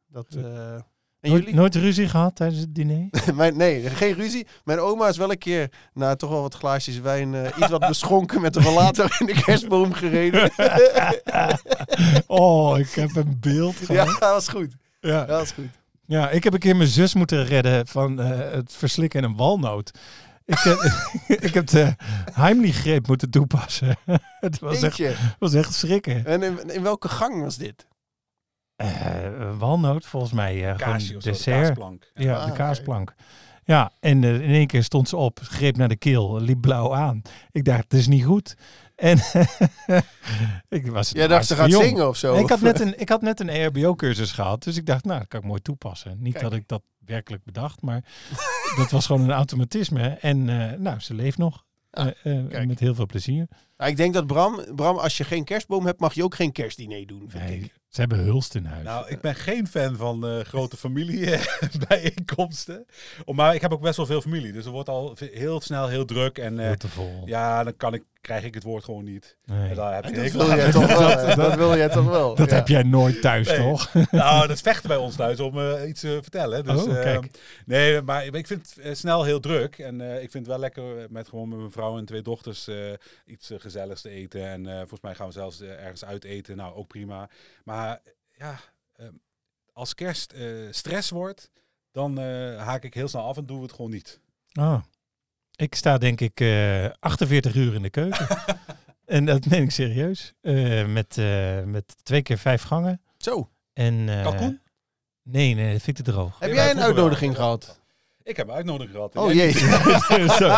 Dat,
Ja.
eh, en
Nooit,
jullie?
nooit ruzie gehad tijdens het diner?
Mijn, nee, geen ruzie. Mijn oma is wel een keer na toch wel wat glaasjes wijn eh, iets wat beschonken met de rollator in de kerstboom gereden.
oh, ik heb een beeld
ja,
gehad.
dat was goed.
Ja.
Dat was goed.
Ja, ik heb een keer mijn zus moeten redden van eh, het verslikken in een walnoot. Ik heb, ik heb de Heimlich-greep moeten toepassen. het was echt,
Eentje.
was echt schrikken.
En in, in welke gang was dit?
Eh, een walnoot, volgens mij eh,
Kaasje
gewoon
of zo, de
dessert.
kaasplank.
ja,
Ah,
de
oké.
kaasplank. Ja, en eh, in één keer stond ze op, greep naar de keel, liep blauw aan. Ik dacht, het is niet goed. En ik was
Jij dacht, ze gaat
jong.
zingen of zo.
Nee, ik, had net een, ik had net een E EHBO-cursus gehad, dus ik dacht, nou, dat kan ik mooi toepassen. Niet
Kijk.
dat ik dat werkelijk bedacht, maar dat was gewoon een automatisme. En eh, nou, ze leeft nog.
Ah,
Eh, eh,
kijk.
met heel veel plezier.
Ja, ik denk dat Bram, Bram, als je geen kerstboom hebt, mag je ook geen kerstdiner doen, vind
Nee,
ik.
ze hebben hulst in huis.
Nou, ik ben geen fan van eh, grote familiebijeenkomsten. maar ik heb ook best wel veel familie. Dus er wordt al ve- heel snel heel druk. En eh,
Veel te vol.
ja, dan kan ik, krijg ik het woord gewoon niet.
Nee.
En daar heb je
Dat
hekel
wil
aan.
jij toch wel. hè? Dat
Oh,
wil jij toch wel.
Dat
ja.
heb jij nooit thuis,
Nee.
toch?
Nou, dat vechten bij ons thuis om eh, iets te vertellen. Dus,
Oh,
eh,
kijk.
nee, maar ik vind het eh, snel heel druk. En eh, ik vind het wel lekker met gewoon met mijn vrouw en twee dochters eh, iets eh, gezelligs te eten. En eh, volgens mij gaan we zelfs eh, ergens uit eten. Nou, ook prima. Maar ja, eh, als kerst eh, stress wordt, dan eh, haak ik heel snel af en doen we het gewoon niet.
Ah. Ik sta denk ik eh, 48 uur in de keuken. en dat meen ik serieus. Eh, met, eh, met twee keer vijf gangen.
Zo,
En, eh,
Kalkoen?
Nee, nee, dat vind ik te droog.
heb jij
Ja, wij
een
vroegen
uitnodiging
wel.
gehad?
Ik heb een uitnodiging gehad.
Oh jee.
Zo.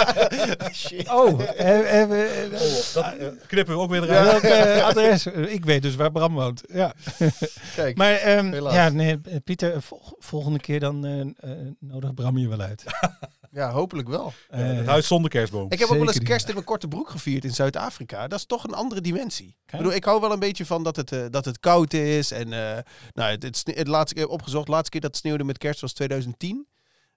Shit.
Oh, eh, eh, eh, eh,
Oh, dat eh, knippen we ook weer
Ja,
eruit.
welk eh, adres? Eh, Ik weet dus waar Bram woont. Ja.
Kijk.
Maar ehm,
Helaas.
ja, nee, eh, Pieter, eh, vol- volgende keer dan eh, eh, nodig Bram je wel uit.
Ja, hopelijk wel.
Eh,
Eh,
het huis zonder kerstboom.
Ik heb ook wel eens
Zeker niet.
kerst in mijn korte broek gevierd in Zuid-Afrika. Dat is toch een andere dimensie. Ik bedoel, ik hou wel een beetje van dat het, eh, dat het koud is. En eh, nou, het, het, sne- het laatste keer opgezocht, de laatste keer dat het sneeuwde met kerst was 2010.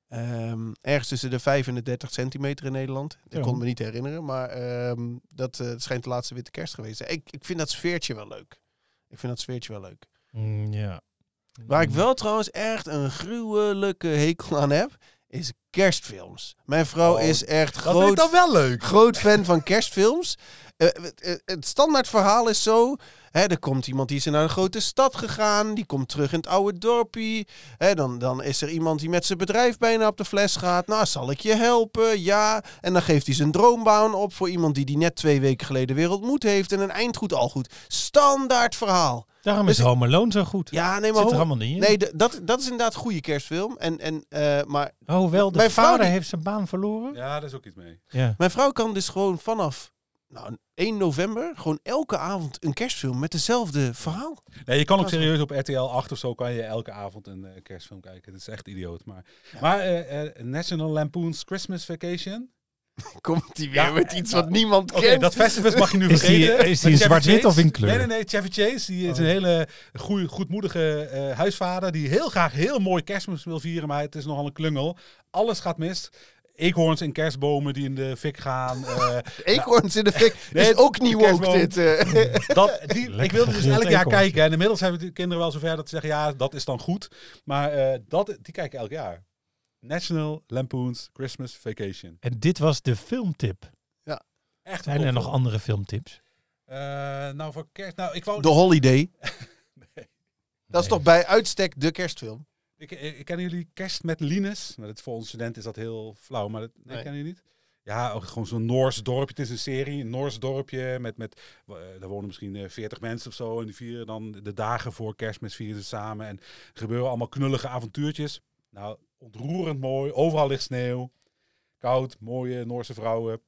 Ehm, ergens tussen de 5 en de 30 centimeter in Nederland. Ik
Ja.
kon me niet herinneren, maar ehm, dat eh, het schijnt de laatste witte kerst geweest. te zijn. Ik, ik vind dat sfeertje wel leuk. Ik vind dat sfeertje wel leuk.
Mm, ja.
Waar
Mm.
ik wel trouwens echt een gruwelijke hekel aan heb, is kerstfilms. Mijn vrouw
Oh,
is echt
Dat vind ik
groot
dan wel leuk.
groot fan van kerstfilms. Eh, het- het- het standaard verhaal is zo. Hè, er komt iemand die is naar een grote stad gegaan. Die komt terug in het oude dorpje. Hè, dan, dan is er iemand die met zijn bedrijf bijna op de fles gaat. Nou, zal ik je helpen? Ja. En dan geeft hij zijn droombaan op voor iemand die die net twee weken geleden weer ontmoet heeft. En een eindgoed al goed. Standaard verhaal.
Daarom is
Dus-
Home Alone zo goed.
Ja,
het
nee, maar...
zit er
ho-
allemaal niet in.
Nee, d- dat, dat is inderdaad een goede kerstfilm. En, en, eh, maar
oh, wel, de
Mijn vrouw
vader
die-
heeft zijn baan verloren.
Ja, daar is ook iets mee.
Ja.
Mijn vrouw kan dus gewoon vanaf nou, 1 november gewoon elke avond een kerstfilm met dezelfde verhaal.
Nee, je kan ook
Dat is
serieus op RTL 8 of zo kan je elke avond een eh, kerstfilm kijken. Dat is echt idioot. Maar, maar eh, eh, National Lampoon's Christmas Vacation.
Komt hij
weer met
iets wat niemand
Oké, dat festivus mag je nu
Is die-
vergeten.
is die
Met
in
Chevy
zwart-wit
Chase.
of in kleur? Oh.
Nee, nee, nee. Chevy Chase die is een hele goeie, goedmoedige eh, huisvader die heel graag heel mooi kerstmis wil vieren. Maar het is nogal een klungel. Alles gaat mis. Eekhoorns en kerstbomen die in de fik gaan. eh,
Eekhoorns in de fik
Nee,
is ook niet woke
kerstboom.
dit. eh.
dat, die,
Lekker
ik wilde dus
gegrild
elk jaar
eekhoorn.
kijken. En inmiddels hebben de kinderen wel zover dat ze zeggen, ja, dat is dan goed. Maar eh, dat, die kijken elk jaar. National Lampoon's Christmas Vacation.
En dit was de filmtip.
Echt
Zijn er nog andere filmtips?
Eh, nou, voor kerst... Nou, ik, wou,
The Holiday. Dat is
Nee.
toch bij uitstek de kerstfilm?
ik, ik, kennen jullie Kerst met Linus? Nou, dat, voor ons studenten is dat heel flauw, maar dat nee,
Nee.
kennen jullie niet? Ja, ook gewoon zo'n Noors dorpje. Het is een serie, een Noors dorpje. Met, met, eh, daar wonen misschien eh, 40 mensen of zo. En die vieren dan de dagen voor kerstmis vieren ze samen. En er gebeuren allemaal knullige avontuurtjes. Nou, ontroerend mooi. Overal ligt sneeuw. Koud, mooie Noorse vrouwen.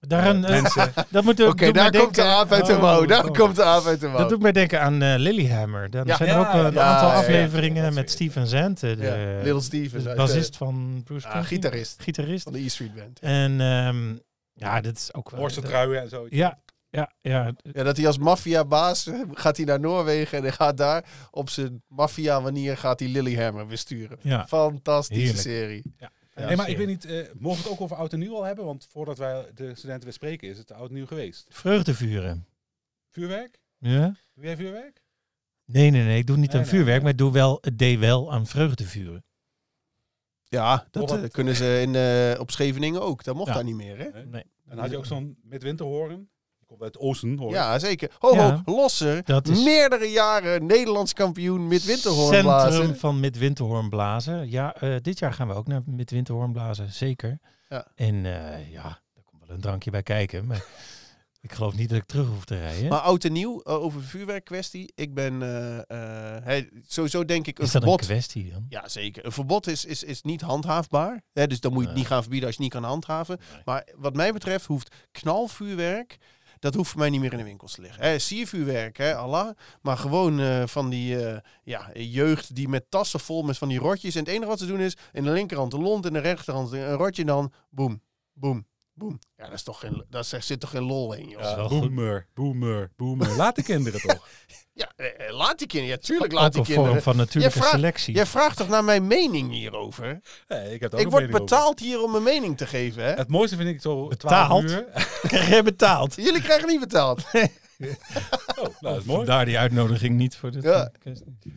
Daar een,
eh,
eh,
mensen.
dat moet,
Oké,
doet mij
daar komt de
denken-
aap uit de
Oh,
mouw. Daar
oh.
komt de aap uit de mouw.
Dat doet mij denken aan eh, Lilyhammer. Dan
Ja.
zijn er
Ja,
ook eh, een
ja,
aantal
ja, ja.
afleveringen
Dat is
met
weer-
Steven Zandt, eh, de,
Ja, Little Steven.
de
uit,
bassist van Bruce
eh, ah,
Springsteen.
gitarist
Gitarist.
van de E Street Band.
En ehm, ja, dit is ook wel...
Noorse truien en zo.
Ja, ja, ja.
Ja, dat hij als maffiabaas eh, gaat hij naar Noorwegen en hij gaat daar op zijn maffia wanneer gaat hij Lilyhammer weer sturen.
ja.
Fantastische
Heerlijk.
serie.
Nee, maar ik weet niet, eh, mogen we het ook over oud en nieuw al hebben? Want voordat wij de studenten weer spreken, is het oud en nieuw geweest.
Vreugdevuren.
Vuurwerk?
Ja?
Doe jij vuurwerk?
Nee, nee, nee. Ik doe niet
Nee,
aan
nee,
vuurwerk,
nee.
maar ik doe wel, het deed wel aan vreugdevuren.
Ja, dat
Mocht dat-
eh, kunnen ze in, eh, op Scheveningen ook. Dat mocht
Ja.
daar niet meer, hè?
Nee.
Nee.
En dan had je ook zo'n midwinterhoorn. Die komt uit Oosten, hoor.
Ja, zeker. Ho,
Ja.
ho, Losser.
Dat is
Meerdere jaren Nederlands kampioen met winterhoorn
Centrum
blazen.
van Midwinterhoorn blazen. Ja, eh, dit jaar gaan we ook naar Midwinterhoorn blazen, zeker.
Ja.
En eh, ja, daar komt wel een drankje bij kijken. Maar ik geloof niet dat ik terug hoef te rijden.
Maar oud en nieuw, eh, over de vuurwerkkwestie. Ik ben, eh, eh, hey, sowieso denk ik, een
is dat een
verbod.
kwestie dan?
ja, zeker. Een verbod is, is, is niet handhaafbaar. Hè, dus dan moet je het
Nee.
niet gaan verbieden als je het niet kan handhaven.
Nee.
Maar wat mij betreft hoeft knalvuurwerk, dat hoeft voor mij niet meer in de winkels te liggen. Hè, siervuurwerk, hè, Allah. Maar gewoon eh, van die eh, ja, jeugd die met tassen vol met van die rotjes. En het enige wat ze doen is in de linkerhand een lont, in de rechterhand een rotje en dan boem, boem, Boom. Ja, dat is toch geen, daar zit toch geen lol in, joh.
is
Ja,
wel goed.
boomer, boomer, boomer. Laat de kinderen toch.
eh, eh, laat die kinderen. Ja, tuurlijk
Ook
laat die
een vorm
kinderen.
van natuurlijke
Jij vraagt-
selectie.
Jij vraagt toch naar mijn mening hierover?
Nee, ik heb daar ook
Ik
een
word
mening over.
betaald hier om mijn mening te geven, hè?
Het mooiste vind ik zo 12
Betaald?
uur.
Krijg jij betaald?
Jullie krijgen niet betaald.
Oh, nou, dat is mooi.
Daar die uitnodiging niet voor dit.
Ja.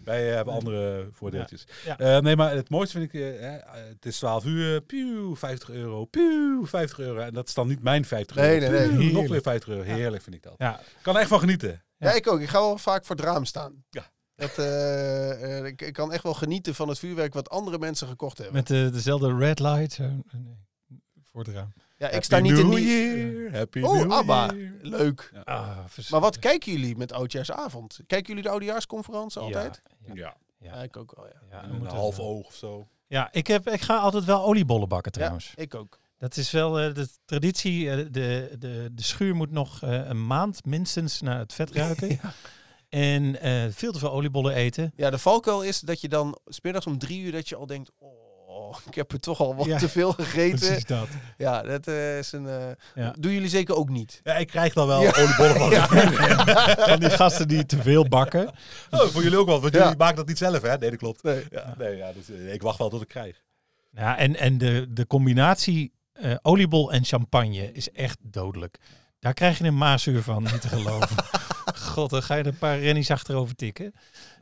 Wij eh, hebben andere voordeeltjes.
Ja.
Eh, nee, maar het mooiste vind ik, eh, hè, eh, het is 12 uur, pieuw, 50 euro, pieuw, 50 euro. En dat is dan niet mijn 50
Nee,
euro.
nee, nee.
pieuw, nog
Heerlijk.
weer 50 euro. Heerlijk vind ik dat.
Ja,
Ik kan er echt van genieten.
Ja, ik ook. Ik ga wel vaak voor het raam staan.
Ja.
Dat, eh, eh, ik, ik kan echt wel genieten van het vuurwerk wat andere mensen gekocht hebben.
met eh, dezelfde red light. zo. Nee, voor het raam.
ja, ik sta niet in
New
die...
Year, happy
Oh,
New
ABBA.
Year.
Leuk.
Ah,
Maar wat kijken jullie met Oudjaarsavond? Kijken jullie de Oudjaarsconferentie altijd?
Ja,
Ja,
ja,
Ja, ik ook wel, ja.
ja, dan
een
moet
half
dat wel.
oog of zo.
Ja, ik, heb, ik ga altijd wel oliebollen bakken trouwens.
Ja, ik ook.
Dat is wel eh, de traditie. eh, de, de, de schuur moet nog eh, een maand minstens naar het vet ruiken. En eh, veel te veel oliebollen eten.
Ja, de valkuil is dat je dan smiddags om drie uur dat je al denkt... Oh, ik heb er toch al wat
Ja.
te veel gegeten.
Precies dat.
Ja, dat eh, is een... eh,
Ja.
Doen jullie zeker ook niet?
Ja, ik krijg dan wel
Ja.
oliebollen van.
Van die gasten die te veel bakken.
Oh, voor jullie ook wel, want
Ja.
jullie maken dat niet zelf, hè? Nee, dat klopt.
Nee.
Ja, nee, ja, dus, eh, ik wacht wel tot ik krijg.
Ja, en, en de, de combinatie eh, oliebol en champagne is echt dodelijk. Daar krijg je een maasuur van, niet te geloven. God, dan ga je er een paar rennies achterover tikken.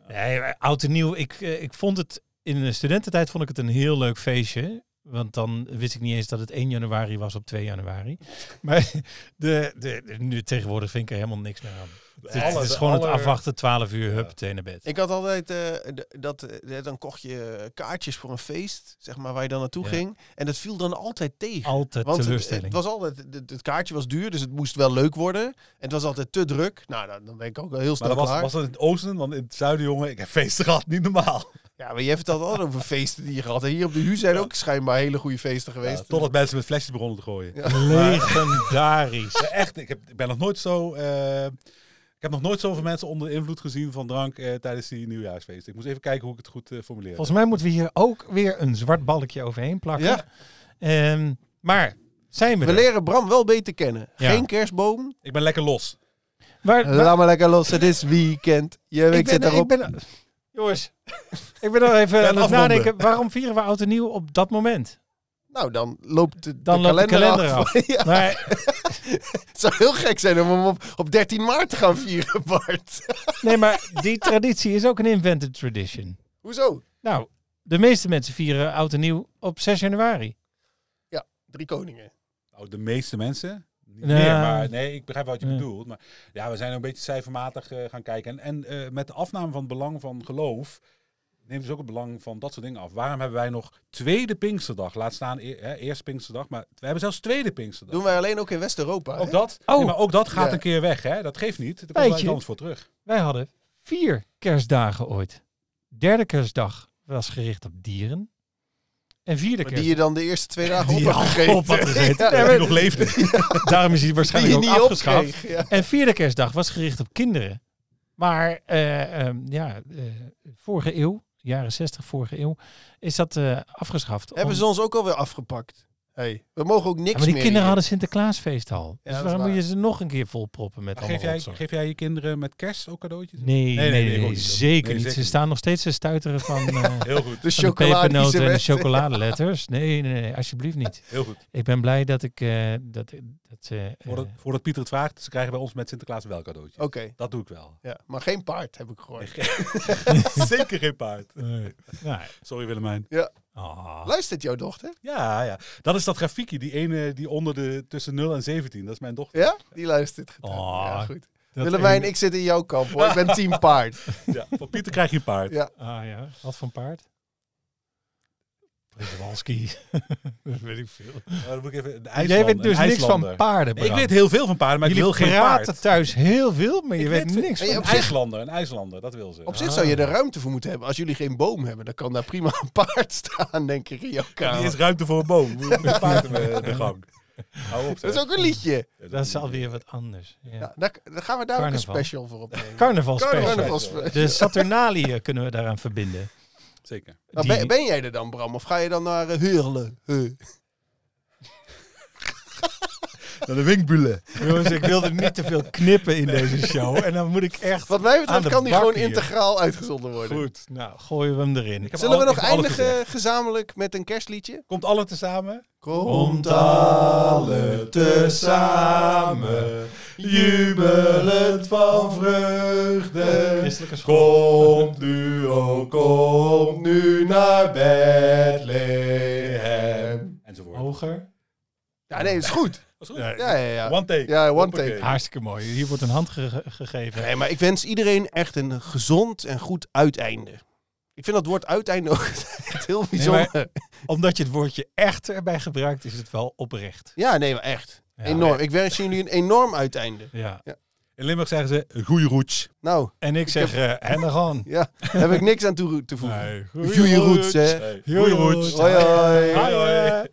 Nee, maar oud en nieuw. Ik, eh, ik vond het in de studententijd vond ik het een heel leuk feestje. Want dan wist ik niet eens dat het 1 januari was op 2 januari. Maar de, de, de- nu tegenwoordig vind ik er helemaal niks meer aan. Het, is- het
Alle-
is gewoon
alle-
het afwachten, 12 uur, hup,
Ja.
meteen naar bed.
Ik had altijd eh, d- dat eh, dan kocht je kaartjes voor een feest, zeg maar, waar je dan naartoe
Ja.
ging. En dat viel dan altijd tegen.
Altijd
Want het,
teleurstelling.
het was altijd, het, het kaartje was duur, dus het moest wel leuk worden. En het was altijd te druk. Nou, dan, dan ben ik ook wel heel
Maar
snel
dat was,
klaar.
was dat in het oosten, want in het zuiden, jongen, ik heb feesten gehad, niet normaal.
Ja, maar je hebt het altijd over feesten die je gehad hebt. Hier op de HU zijn ook schijnbaar hele goede feesten
Ja,
geweest.
totdat mensen met flesjes begonnen te gooien.
Legendarisch.
Ja, echt, ik, heb, ik ben nog nooit zo. eh, ik heb nog nooit zoveel mensen onder de invloed gezien van drank eh, tijdens die nieuwjaarsfeest. Ik moest even kijken hoe ik het goed eh, formuleer.
Volgens mij moeten we hier ook weer een zwart balkje overheen plakken.
Ja.
Ehm, maar zijn we,
We
er?
leren Bram wel beter kennen.
Ja.
Geen kerstboom.
Ik ben lekker los.
Waar- waar-
Laat maar lekker los, het is weekend. Je
ik
week
ben,
zit
ik
erop.
ben, jongens, ik ben nog even aan het
afronden.
nadenken. Waarom vieren we oud en nieuw op dat moment?
Nou, dan loopt de,
Dan
de
loopt de
kalender,
kalender
af. ja,
Maar,
het zou heel gek zijn om hem op, op 13 maart te gaan vieren, Bart.
nee, maar die traditie is ook een invented tradition.
Hoezo?
Nou, de meeste mensen vieren oud en nieuw op 6 januari.
Drie koningen.
Nou, de meeste mensen. Niet
Ja.
meer, maar nee, ik begrijp wat je
Ja.
bedoelt. Maar ja, we zijn een beetje cijfermatig eh, gaan kijken. En, en eh, met de afname van het belang van geloof neemt dus ook het belang van dat soort dingen af. Waarom hebben wij nog tweede Pinksterdag? Laat staan, e- hè, eerst Pinksterdag, maar we hebben zelfs tweede Pinksterdag.
Doen wij alleen ook in West-Europa. hè?
Ook dat,
Oh.
nee, maar ook dat gaat
Ja.
een keer weg. Hè? Dat geeft niet. Daar komt
Weet
wel iets
je.
anders voor terug.
Wij hadden vier kerstdagen ooit. Derde kerstdag was gericht op dieren. En vierde
Maar die
kerstdag.
je dan de eerste twee dagen op
Die je
had
al
gegeten.
op had gegeten.
Ja,
Nee,
die
maar-
nog leefde.
Daarom is hij
die je
waarschijnlijk
niet
ook afgeschaft.
opkreeg. Ja.
En vierde kerstdag was gericht op kinderen. Maar eh, ehm, ja, eh, vorige eeuw, jaren 60, vorige eeuw, is dat eh, afgeschaft.
Hebben ze
Om-
ons ook alweer afgepakt? Hey, we mogen ook niks
Ja, maar die
meer.
kinderen
hier.
hadden Sinterklaasfeest al.
Ja, dat
dus
is
waarom moet
waar.
je ze nog een keer volproppen met allemaal
Geef jij,
rotzooi?
geef jij je kinderen met kerst ook cadeautjes?
Nee, nee, nee,
nee, ik ook
nee,
niet.
zeker
Nee,
niet.
zeker
Ze staan nog steeds te stuiteren van, eh, van
Heel goed,
de
de pepernoten en de
chocolade.
chocoladeletters. Nee, nee, nee, alsjeblieft niet.
heel goed.
Ik ben blij dat ik... eh, dat, dat, ze, eh,
Voordat, voordat Pieter het vraagt, ze krijgen bij ons met Sinterklaas wel cadeautjes.
Oké,
Dat doe ik wel.
ja. maar geen paard heb ik gehoord.
Zeker geen paard.
eh, nou,
Sorry Willemijn.
ah.
Luistert jouw dochter?
Ja, ja. Dat is dat grafiekje, die ene die onder de tussen 0 en 17. Dat is mijn dochter.
Ja, die luistert.
Oh,
ja, goed.
Dat
Willemijn,
ene-
ik zit in jouw kamp hoor. Ik ben team paard.
Ja. Van Pieter krijg je een paard.
Ja.
Ah ja, wat voor paard? Przewalski. dat weet ik veel.
Oh, dan moet ik even, de
Jij
IJslander,
weet dus niks
een
van
IJslander.
paarden,
Ik
Bram.
weet heel veel van paarden, maar
Jullie
ik wil geen
praten
paard.
thuis heel veel, maar je
Ik
weet
weet-
niks
Hey,
van
op
Een
zich-
IJslander, een IJslander, dat wil ze.
Op zich zou je er ruimte voor moeten hebben. Als jullie geen boom hebben, dan kan daar prima een paard staan, denk ik, in jouw
Die
kamer.
is ruimte voor een boom. Hoe moet een paard in de de gang? Hou op,
Dat
zeg.
is ook een liedje.
Dat is alweer wat anders. Ja.
Ja, daar, daar gaan we daar ook een
Carnaval.
special voor opnemen.
Carnaval special.
Carnaval
De Saturnalia kunnen we daaraan verbinden.
Zeker.
Maar
Die-
ben, ben jij er dan, Bram? Of ga je dan naar eh, Heurlen? Heu.
Naar de winkbulen.
Jongens, ik wilde niet te veel knippen in deze show. Oh, En dan moet ik echt.
Wat mij
Aan
betreft
de
kan die
bak
gewoon
hier.
integraal uitgezonden worden.
Goed, nou gooien we hem erin.
heb
Zullen we
alle-
nog
ik heb alle
eindigen
gezegd.
gezamenlijk met een kerstliedje?
Komt alle tezamen?
Komt alle tezamen, jubelend
van vreugde.
Christelijke
Kom nu, oh kom nu naar Bethlehem.
Enzovoort.
Hoger.
Ja, nee, is goed.
Ja,
Ja, ja, ja.
One take.
Ja, one
Hoppakee.
take.
Hartstikke mooi. Hier wordt een hand ge- gegeven.
Nee, maar ik wens iedereen echt een gezond en goed uiteinde. Ik vind dat woord uiteinde ook echt heel bijzonder.
Omdat je het woordje echt erbij gebruikt, is het wel oprecht.
Ja, nee, maar echt.
Ja.
Enorm. Ik wens jullie een enorm uiteinde.
Ja.
In Limburg zeggen ze, een goeie roets.
Nou,
En ik zeg, eh en dan gewoon.
ja, daar heb ik niks aan toe te voegen.
Nee,
Goeie roots, hè.
Goeie roets.
Hoi, hoi.
Hoi, hoi.